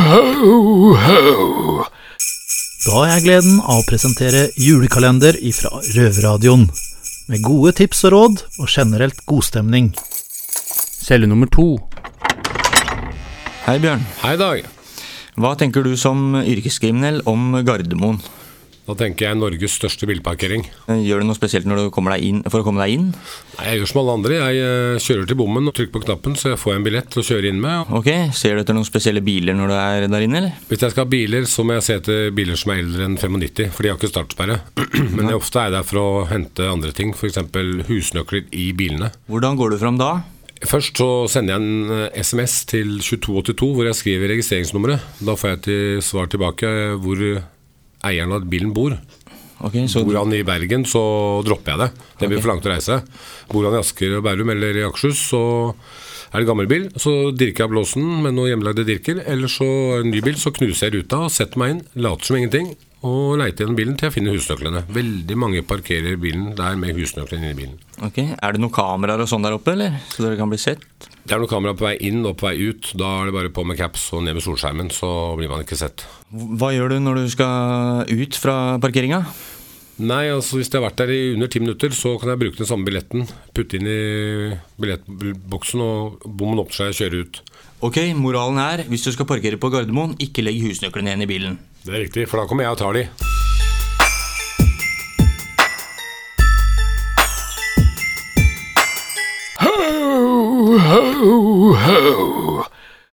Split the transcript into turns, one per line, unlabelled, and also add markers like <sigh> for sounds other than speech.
Ho, ho.
Da har jeg gleden av å presentere julekalender ifra Røverradioen. Med gode tips og råd, og generelt godstemning.
Celle nummer to.
Hei, Bjørn.
Hei, Dag.
Hva tenker du som yrkeskriminell om Gardermoen? Eh,
Da tenker jeg Norges største bilparkering.
Gjør du noe spesielt når du kommer deg inn, for å komme deg inn?
Nei, Jeg gjør som alle andre. Jeg eh, kjører til bommen og trykker på knappen, så jeg får en billett til å kjøre inn med.
Ok, Ser du etter noen spesielle biler når du er der inne, eller?
Hvis jeg skal ha biler, så må jeg se etter biler som er eldre enn 95, for de har ikke startsperre. <clears throat> Men jeg ofte er der for å hente andre ting, f.eks. husnøkler i bilene.
Hvordan går du fram da?
Først så sender jeg en eh, SMS til 2282 hvor jeg skriver registreringsnummeret. Da får jeg til svar tilbake eh, hvor eieren av bilen bor.
Ok, så
Bor han i Bergen, så dropper jeg det. Det blir for langt å reise. Bor han i Asker og Bærum eller i Akershus, så er det gammel bil. Så dirker jeg blåsen med noen hjemmelagde dirker. Eller så er det en ny bil, så knuser jeg ruta og setter meg inn, later som ingenting. Og leiter gjennom bilen til jeg finner husnøklene. Veldig mange parkerer bilen der med husnøklene inni bilen.
ok. Er det noen kameraer og sånn der oppe, eller? Så dere kan bli sett?
Det er noe kamera på vei inn og på vei ut. Da er det bare på med caps og ned med solskjermen, så blir man ikke sett.
Hva gjør du når du skal ut fra parkeringa?
Nei, altså hvis jeg har vært der i under ti minutter, så kan jeg bruke den samme billetten. Putte inn i billettboksen, og bommen åpner seg og kjøre ut.
Ok, moralen er hvis du skal parkere på Gardermoen, ikke legg husnøklene igjen i bilen.
Det er riktig, for da kommer jeg og tar de.
Ho, ho, ho.